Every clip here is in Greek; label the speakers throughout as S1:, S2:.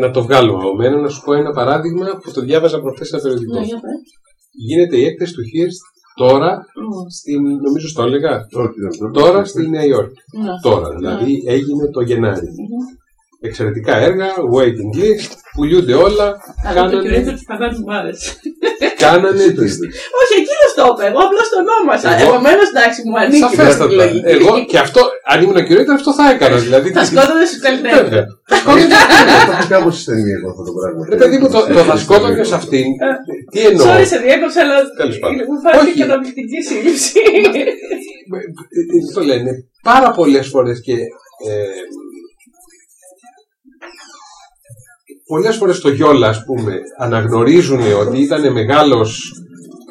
S1: να το βγάλουμε. Εμένα να σου πω ένα παράδειγμα που το διάβαζα προχθές στο περιοδικό.
S2: Ναι, για πες.
S1: Γίνεται η έκθεση του Χίρστ τώρα,
S2: Μμμ.
S1: στην, νομίζω στο έλεγα,
S3: Όχι, δεν το-
S1: τώρα στη Νέα Υόρκη.
S2: Ναι.
S1: Τώρα, δηλαδή έγινε το Γενάρη.
S2: Μμμ.
S1: Εξαιρετικά έργα, waiting list, πουλιούνται όλα,
S2: Αλλά το
S1: κάνανε,
S2: κυρίω του παγάτου μου άρεσε.
S1: κάνανε
S3: Εσύ το
S1: τις...
S3: είδες.
S2: Όχι, εκείνο το είπε. Εγώ απλώ το ονόμασα.
S1: Εγώ-
S2: Επομένω, εντάξει, μου ανήκει αυτή η
S1: Σαφέστατα.
S2: λογική.
S1: Εγώ και αυτό, αν ήμουν curator, αυτό θα έκανα. Δηλαδή,
S2: Ναι. Θα Ναι. σκότωνε του καλλιτέχνε.
S1: Βέβαια. Θα σκότωνε-
S3: Το έχω κάπως στην ταινία εγώ αυτό το πράγμα.
S1: Ρε παιδί μου, το, το θα σκότωνε σε αυτήν. Τι εννοώ.
S2: Ε. Sorry, σε διέκοψα, αλλά
S1: Τέλος πάντων.
S2: μου φάνηκε
S1: Όχι.
S2: καταπληκτική σύλληψη.
S1: Τι Ε, το λένε. Πάρα πολλές φορές και... Ε, πολλές φορές το Γιόλα, ας πούμε, αναγνωρίζουν ότι ήταν μεγάλος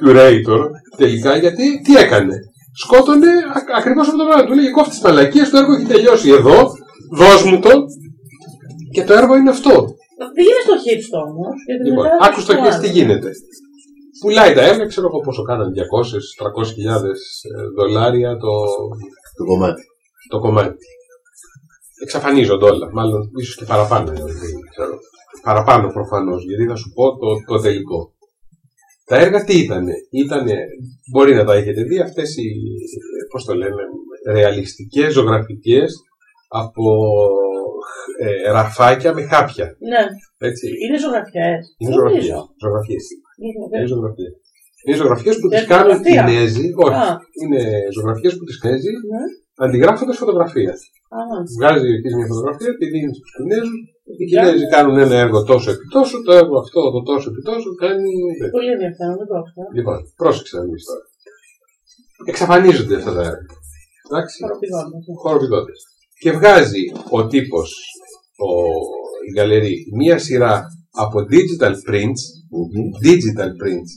S1: curator τελικά γιατί τι έκανε. Σκότωνε ακ- ακριβώς αυτό το πράγμα. Του λέγε κόφτη τις μαλακίες, το έργο έχει τελειώσει εδώ, δώσ' μου το. Και το έργο είναι αυτό.
S2: Πήγαινε στο χέρι του όμω.
S1: Λοιπόν, άκου το και τι γίνεται. Πουλάει τα έργα, ξέρω εγώ πόσο κάνανε, 200-300 ε, δολάρια το,
S3: Το κομμάτι.
S1: το κομμάτι. Εξαφανίζονται όλα, μάλλον ίσω και παραπάνω. δεν Ξέρω. Παραπάνω προφανώ, γιατί θα σου πω το, το τελικό. Τα έργα τι ήτανε, ήτανε, μπορεί να τα έχετε δει, αυτές οι, πώς το λέμε, ρεαλιστικές ζωγραφικές από ε, ραφάκια με χάπια,
S2: Ναι,
S1: έτσι.
S2: είναι ζωγραφιέ.
S1: Είναι ζωγραφίες, ζωγραφίες.
S2: Ναι.
S1: Είναι ζωγραφίε. Είναι ζωγραφίε που τι
S2: Δεν
S1: κάνουν οι
S2: φωτογραφία.
S1: Κινέζοι. Ε, Όχι.
S2: Ε, Α.
S1: Είναι ζωγραφίε που τι Κινέζοι
S2: Ναι.
S1: αντιγράφοντα φωτογραφία. Βγάζει ο Ιωκής μια φωτογραφία, τη δίνει στου Κινέζου. Οι
S2: Βγάζει.
S1: Κινέζοι κάνουν ένα έργο τόσο επί τόσο, το έργο αυτό το τόσο επί τόσο κάνει.
S2: Πολύ ενδιαφέρον, δεν το έχω.
S1: Λοιπόν, πρόσεξε να δεις τώρα. Εξαφανίζονται αυτά τα έργα. Εντάξει.
S2: Παραπηδώνω.
S1: Χοροπηδώντα. Και βγάζει ο τύπο, ο... η γαλερί, μία σειρά από digital prints
S3: Μμμ.
S1: digital prints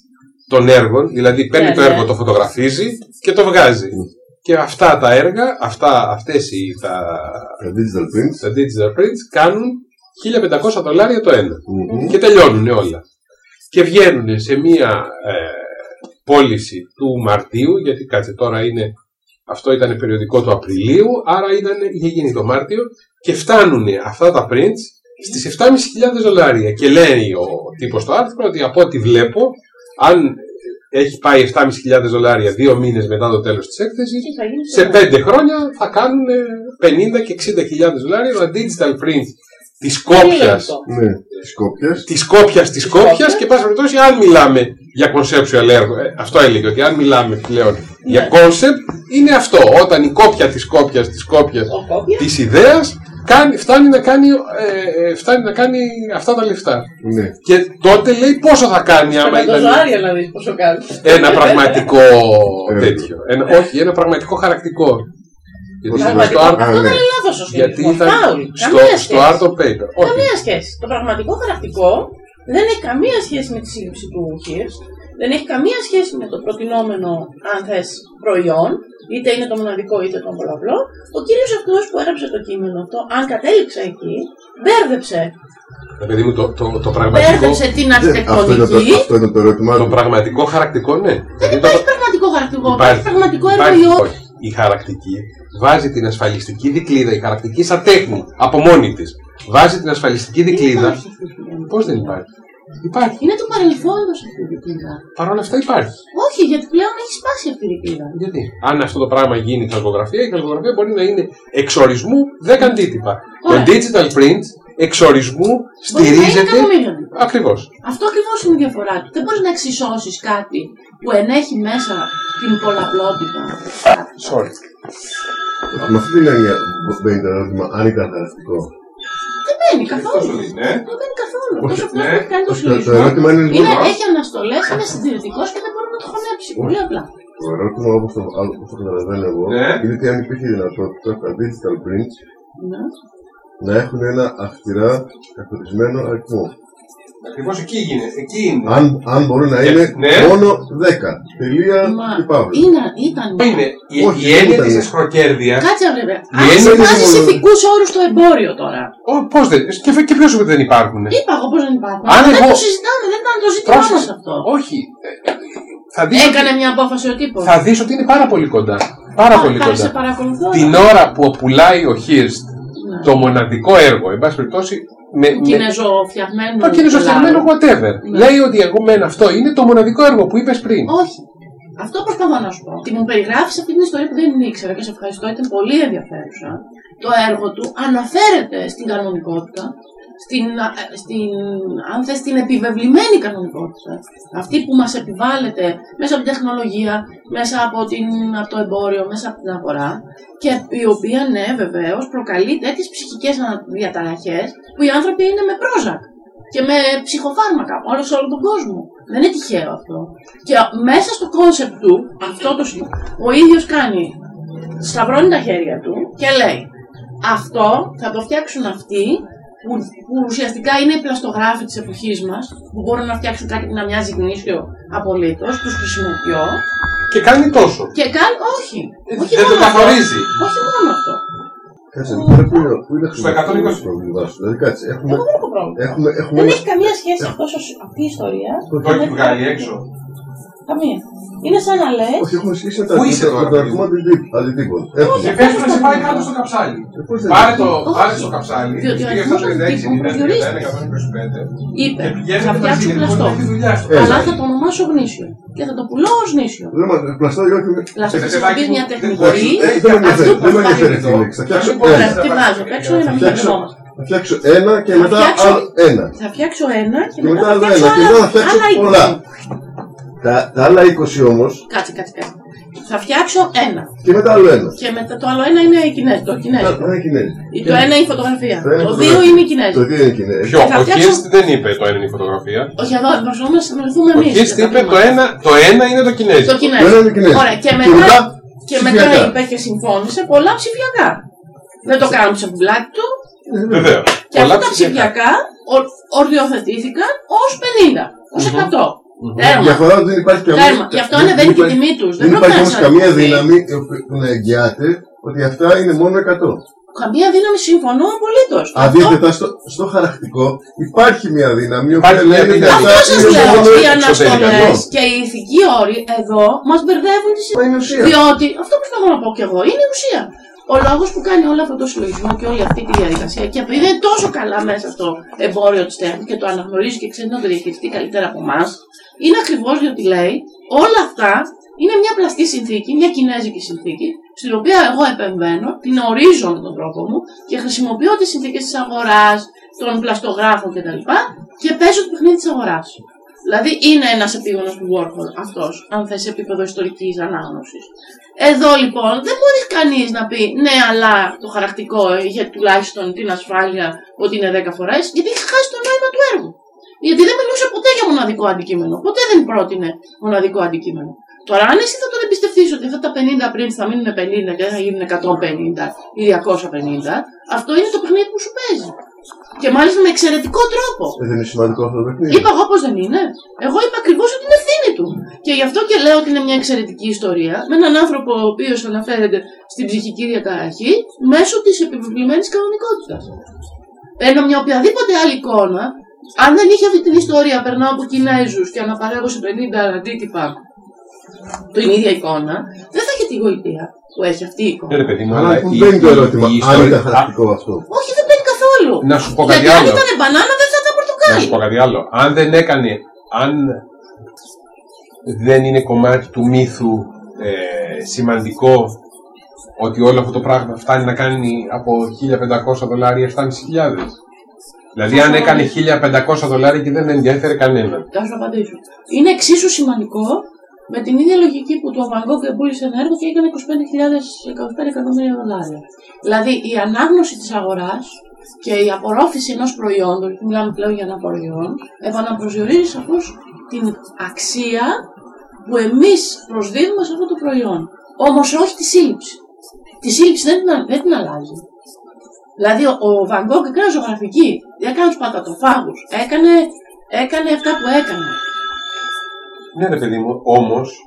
S1: των έργων, δηλαδή παίρνει
S2: Ναι,
S1: το
S2: ναι.
S1: έργο, το φωτογραφίζει και το βγάζει. Και αυτά τα έργα, αυτά, αυτές οι, τα,
S3: Τα digital prints.
S1: τα digital prints κάνουν 1500 δολάρια το ένα.
S3: Μμμ.
S1: Και τελειώνουν όλα. Και βγαίνουν σε μία ε, πώληση του Μαρτίου, γιατί κάτσε τώρα είναι, αυτό ήταν περιοδικό του Απριλίου, άρα ήταν, είχε γίνει το Μάρτιο, και φτάνουν αυτά τα prints στις 7.500 δολάρια. Και λέει ο τύπος στο άρθρο ότι από ό,τι βλέπω, αν έχει πάει 7.500 δολάρια δύο μήνες μετά το τέλος της έκθεσης,
S2: Τι θα γίνει
S1: σε πέντε χρόνια θα κάνουν ε, 50 και 60.000 δολάρια τα digital prints της κόπιας
S3: Ναι, τη κόπια.
S1: τη κόπια τη κόπια και πάση περιπτώσει, αν μιλάμε για conceptual έργο, ε, αυτό έλεγε ότι αν μιλάμε πλέον για concept, είναι αυτό. Όταν η κόπια τη κόπια τη κόπια τη ιδέα φτάνει, να κάνει, ε, ε, φτάνει να κάνει αυτά τα λεφτά.
S3: Ναι.
S1: Και τότε λέει πόσο θα κάνει άμα
S2: Το
S1: ήταν
S2: ζωάρι, δηλαδή, πόσο κάνει.
S1: ένα πραγματικό
S3: Ε,
S1: τέτοιο. Ένα, όχι, ένα πραγματικό χαρακτικό. Γιατί
S3: Πόσο
S1: ήταν Ε, στο
S2: Πραγματικό.
S1: art,
S3: Α, ναι.
S2: Λάθο ο
S1: γιατί
S2: σχολείο.
S1: ήταν
S2: Φάουλ.
S1: στο,
S2: Καμία
S1: στο
S2: σχέση.
S1: art of paper. Όχι,
S2: Καμία σχέση. Το πραγματικό χαρακτικό δεν έχει καμία σχέση με τη σύλληψη του Χίρς, δεν έχει καμία σχέση με το προτινόμενο, αν θες, προϊόν, είτε είναι το μοναδικό είτε το πολλαπλό. Ο κύριος αυτός που έγραψε το κείμενο αυτό, αν κατέληξε εκεί, μπέρδεψε.
S1: Ρε παιδί μου, το, το, το πραγματικό.
S2: Μπέρδεψε την
S3: Ε, Αυτό είναι
S2: αρχιτεκτονική.
S3: το- αυτό είναι το ερώτημά
S1: Το
S3: του.
S1: πραγματικό χαρακτικό, ναι.
S2: Ε, Δεν
S1: Γιατί το-
S2: υπάρχει πραγματικό χαρακτικό,
S1: Υπάρχει.
S2: υπάρχει πραγματικό
S1: υπάρχει-
S2: εργοϊό.
S1: όχι. Η χαρακτική βάζει την ασφαλιστική δικλίδα, η χαρακτική σαν τέχνη, από μόνη τη. Βάζει την ασφαλιστική
S2: Δεν
S1: δικλίδα.
S2: υπάρχει αυτή η δικλίδα.
S1: Πώ δεν υπάρχει. Υπάρχει.
S2: Είναι του παρελθόντος αυτή η δικλίδα.
S1: Παρ' όλα αυτά υπάρχει.
S2: Όχι, γιατί πλέον έχει σπάσει αυτή η δικλίδα.
S1: Γιατί. Αν αυτό το πράγμα γίνει καλκογραφία, η καλκογραφία μπορεί να είναι εξορισμού 10 αντίτυπα.
S2: Ωραία.
S1: Το digital print εξορισμού
S2: Μπορεί να είναι
S1: στηρίζεται.
S2: κακομοίρανη.
S1: Ακριβώ.
S2: Αυτό ακριβώ είναι η διαφορά του. Δεν μπορεί να εξισώσει κάτι που ενέχει μέσα την πολλαπλότητα.
S1: Sorry.
S3: Με αυτή την έννοια μπαίνει το ερώτημα αν ήταν χαρακτικό.
S2: Δεν μπαίνει καθόλου.
S4: Καθόλου είναι.
S2: Δεν μπαίνει καθόλου.
S3: Όχι,
S2: Τόσο
S4: ναι.
S2: αυτό έχει κάνει το
S3: Το- Το
S2: συλλογισμό.
S3: ερώτημα είναι λοιπόν.
S2: Είναι, έχει αναστολέ, είναι συντηρητικό και δεν μπορεί να το χωνέψει. Πολύ απλά.
S3: Το ερώτημα όπω το, όπως το καταλαβαίνω εγώ
S4: Ναι.
S3: είναι ότι αν υπήρχε δυνατότητα τα digital prints
S2: Ναι.
S3: να έχουν ένα αυστηρά καθορισμένο αριθμό.
S4: Ακριβώ Λοιπόν, εκεί γίνεται. Εκεί είναι.
S3: Αν, αν μπορούν να είναι
S4: Ναι.
S3: μόνο 10. Τελεία
S2: Μα
S3: και παύλα.
S2: είναι, ήταν.
S1: Είναι η,
S3: Όχι,
S1: η έννοια
S3: ήταν.
S1: τη εσχροκέρδεια.
S2: Κάτσε βέβαια.
S1: Η έννοια
S2: Αν
S3: είναι
S2: βάζει
S3: μόνο-
S2: ηθικού όρου στο εμπόριο τώρα.
S1: Πώ δεν. Και, και ποιο σου είπε ότι δεν υπάρχουν.
S2: Είπα εγώ πώ δεν υπάρχουν.
S1: Αν
S2: Δεν
S1: εγώ-
S2: το συζητάμε, δεν ήταν το ζήτημά μα
S1: Πρόσεξε.
S2: αυτό.
S1: Όχι. Ε, ε, Θα δεις, ότι,
S2: Έκανε μια απόφαση ο τύπο.
S1: θα δεις ότι είναι πάρα πολύ κοντά. Πάρα πολύ
S2: Σε
S1: κοντά.
S2: παρακολουθώ.
S1: Την ώρα που πουλάει ο Χίρστ
S2: Ναι.
S1: το μοναδικό έργο, εν πάση περιπτώσει, με, με,
S2: Κινέζο-φτιαγμένο.
S1: το κινέζοφιλμένο
S2: λάδι.
S1: whatever.
S2: Ναι.
S1: Λέει ότι εγώ μεν αυτό είναι το μοναδικό έργο που είπε πριν.
S2: Όχι. Αυτό προσπαθώ να σου πω. Ότι μου περιγράφει αυτή την ιστορία που δεν ήξερα και σε ευχαριστώ, ήταν πολύ ενδιαφέρουσα. Το έργο του αναφέρεται στην κανονικότητα, στην, ε, στην, αν θες, στην επιβεβλημένη κανονικότητα. Αυτή που μας επιβάλλεται μέσα από την τεχνολογία, μέσα από, την, από το εμπόριο, μέσα από την αγορά και η οποία, ναι, βεβαίως, προκαλεί τέτοιες ψυχικές ανα- διαταραχές που οι άνθρωποι είναι με πρόζακ και με ψυχοφάρμακα όλο σε όλο τον κόσμο. Δεν είναι τυχαίο αυτό. Και μέσα στο κόνσεπτ του, αυτό το συ- ο ίδιο κάνει, σταυρώνει τα χέρια του και λέει αυτό θα το φτιάξουν αυτοί που, που ουσιαστικά είναι οι πλαστογράφοι της εποχής μας, που μπορούν να φτιάξουν κάτι που να μοιάζει γνήσιο απολύτως, τους χρησιμοποιώ
S1: Και κάνει τόσο.
S2: και κάνει, όχι, όχι
S4: Δεν το
S2: μόνο αυτό,
S4: καθορίζει.
S2: όχι μόνο αυτό,
S3: Κάτσε, πρέπει να πού είναι
S4: Στο 120.
S3: το πρόβλημά σου. Δηλαδή, κάτσε, έχουμε,
S2: εγώ δεν έχω πρόβλημα.
S4: Ε,
S3: έχουμε, έχουμε
S2: Δεν
S3: ένα-
S2: έχει καμία σχέση αυτός, ο- αυτή η ιστορία,
S4: Το έχει βγάλει έξω.
S2: καμία. Είναι σαν να λες,
S3: Όχι, έχουμε σχέση με τα
S4: Πού είσαι τώρα, παιδί μου?
S3: αρκούμα αντιτύπων. Έχουμε.
S4: Και πες του να σε πάει κάτω στο καψάλι.
S3: Ε, πώς δεν
S4: Πάρε
S3: είναι.
S4: το,
S2: Όχι.
S4: πάρε το καψάλι.
S2: Διότι ο
S4: πήγε
S2: αριθμός
S4: στα 56,
S2: των τύπων
S4: 91, 125.
S2: είπε,
S4: Και πηγαίνει
S2: Ναι. θα
S4: να
S2: φτιάξω
S4: φτιάξει
S2: πλαστό.
S4: τη δουλειά σου.
S3: Ε,
S2: Αλλά θα το ονομάσω γνήσιο. Και θα το πουλάω ω γνήσιο.
S3: Λέμε, πλαστά ή όχι. είναι-
S2: Δηλαδή
S4: Ε,
S2: θα
S4: παιδάκι
S2: χρησιμοποιείς
S4: μου,
S2: μια
S4: δεν
S2: τεχνική.
S4: μπορείς.
S3: Ε, Δεν με ενδιαφέρει,
S2: Αυτό
S3: δεν με
S2: προσπαθεί
S3: ενδιαφέρει αυτή
S4: εδώ.
S3: η λέξη. Θα φτιάξω
S4: Λοιπόν,
S3: ένα.
S4: ε,
S2: Τι βάζω, παίξω για να μην
S3: Φτιάξω.
S2: μπερδευόμαστε.
S3: Θα φτιάξω ένα και μετά
S2: φτιάξω-
S3: άλλο ένα.
S2: Θα φτιάξω ένα και
S3: Και μετά
S2: μετά θα
S3: άλλο
S2: φτιάξω
S3: ένα. Και μετά θα
S2: άλλα
S3: φτιάξω
S2: άλλα
S3: πολλά.
S2: 20.
S3: Τα, τα άλλα 20 όμω
S2: Κάτσε, κάτσε, κάτσε. Θα φτιάξω ένα.
S3: και μετά άλλο ένα.
S2: Και μετά το άλλο ένα είναι η Κινέζη, το Κινέζικο.
S3: Ένα Κινέζι.
S2: Ή Το ένα είναι η φωτογραφία.
S3: Το ένα
S2: Το
S3: το
S2: δύο
S3: δεύτερο.
S2: είναι η
S3: Το
S2: Κινέζη.
S3: τι είναι Κινέζι.
S1: Ποιο,
S2: θα
S1: ο
S2: φτιάξω-
S1: Χίρστ δεν είπε το ένα είναι η φωτογραφία.
S2: Όχι εδώ, προσπαθούμε να συνεννοηθούμε
S1: Ο
S2: εμεί.
S1: Χίρστ είπε το ένα, το ένα είναι το
S2: Το
S1: κινέζικο.
S3: Το ένα
S2: Κινέζικο.
S3: είναι Κινέζι.
S2: Ωραία, και μετά- Και μετά
S3: ψηφιακά.
S2: είπε και συμφώνησε πολλά ψηφιακά. Δεν το κάνουμε σε πουλάκι του,
S1: Βεβαίω.
S2: Και αυτά τα ψηφιακά ο- οριοθετήθηκαν ω 50, ω 100.
S3: Η
S2: Τέρμα.
S3: διαφορά ότι δεν υπάρχει καμία.
S2: Τέρμα. Γι' αυτό ανεβαίνει και η τιμή του.
S3: Δεν υπάρχει όμω καμία δύναμη η οποία- που να εγγυάται ότι αυτά είναι μόνο 100.
S2: Ε, Καμία δύναμη, συμφωνώ απολύτω.
S3: Αντίθετα, στο, στο χαρακτικό υπάρχει μια δύναμη η οποία
S1: Υπάρχει μια
S3: λέει ότι
S1: δύναμη.
S3: αυτά
S2: Αυτό σα
S3: είναι
S2: λέω.
S3: μόνο
S2: Οι αναστολέ
S3: 100.
S2: και οι ηθικοί όροι εδώ μα μπερδεύουν τη
S3: Μα είναι ουσία.
S2: Διότι αυτό που θέλω να πω κι εγώ είναι η ουσία. Ο λόγο που κάνει όλο αυτό το συλλογισμό και όλη αυτή τη διαδικασία και επειδή είναι τόσο καλά μέσα στο εμπόριο τη τέχνη και το αναγνωρίζει και ξέρει να το διαχειριστεί καλύτερα από εμά, είναι ακριβώ διότι λέει όλα αυτά είναι μια πλαστή συνθήκη, μια κινέζικη συνθήκη, στην οποία εγώ επεμβαίνω, την ορίζω με τον τρόπο μου και χρησιμοποιώ τι συνθήκε τη αγορά, των πλαστογράφων κτλ. Και, τα λοιπά και παίζω το παιχνίδι τη αγορά. Δηλαδή είναι ένα επίγονο του Warhol αυτό, αν θε σε επίπεδο ιστορική ανάγνωση. Εδώ λοιπόν δεν μπορεί κανεί να πει ναι, αλλά το χαρακτικό είχε τουλάχιστον την ασφάλεια ότι είναι 10 φορέ, γιατί έχει χάσει το νόημα του έργου. Γιατί δεν μιλούσε ποτέ για μοναδικό αντικείμενο. Ποτέ δεν πρότεινε μοναδικό αντικείμενο. Τώρα, αν εσύ θα τον εμπιστευτεί ότι αυτά τα 50 πριν θα μείνουν 50 και δεν θα γίνουν 150 ή 250, αυτό είναι το παιχνίδι που σου παίζει. Και μάλιστα με εξαιρετικό τρόπο.
S3: Ε, Δεν είναι σημαντικό αυτό το
S1: Ε.
S3: παιχνίδι.
S2: Είπα εγώ πω δεν είναι. Εγώ είπα ακριβώ ότι είναι ευθύνη του. Και γι' αυτό και λέω ότι είναι μια εξαιρετική ιστορία με έναν άνθρωπο ο οποίο αναφέρεται στην ψυχική διαταραχή μέσω τη επιβεβλημένη κανονικότητα. Ενώ μια οποιαδήποτε άλλη εικόνα, αν δεν είχε αυτή την ιστορία, περνάω από Κινέζου και αναπαράγω σε 50 αντίτυπα την ίδια εικόνα, δεν θα είχε τη γοητεία που έχει αυτή η εικόνα.
S1: ρε παιδί μου,
S3: Αλλά
S1: αλλά
S3: πού
S1: η-
S3: μπαίνει το
S1: η-
S3: ερώτημα,
S1: η
S3: αν
S1: ιστορία-
S3: ήταν χαρακτικό αυτό.
S2: Όχι, δεν παίρνει καθόλου.
S1: Να σου πω κάτι
S2: Γιατί αν
S1: άλλο.
S2: ήταν μπανάνα δεν θα ήταν
S1: Να
S2: πορτοκάλι.
S1: σου πω κάτι άλλο. Αν δεν έκανε, αν δεν είναι κομμάτι του μύθου ε, σημαντικό ότι όλο αυτό το πράγμα φτάνει να κάνει από 1500 δολάρια 7.500. Δηλαδή αν έκανε 1500 δολάρια και δεν ενδιαφέρε κανέναν.
S2: Θα σου απαντήσω. Είναι εξίσου σημαντικό με την ίδια λογική που του Αβαγκό και πούλησε ένα έργο και έκανε 25.000 25 εκατομμύρια δολάρια. Δηλαδή η ανάγνωση τη αγορά και η απορρόφηση ενό προϊόντος, που μιλάμε πλέον για ένα προϊόν, επαναπροσδιορίζει σαφώ την αξία που εμεί προσδίδουμε σε αυτό το προϊόν. Όμω όχι τη σύλληψη. Τη σύλληψη δεν την, α- δεν την αλλάζει. Δηλαδή, ο, ο Van Gogh έκανε ζωγραφική, έκανε του πατατοφάγου, έκανε, έκανε αυτά που έκανε.
S1: Ναι ρε παιδί μου, όμως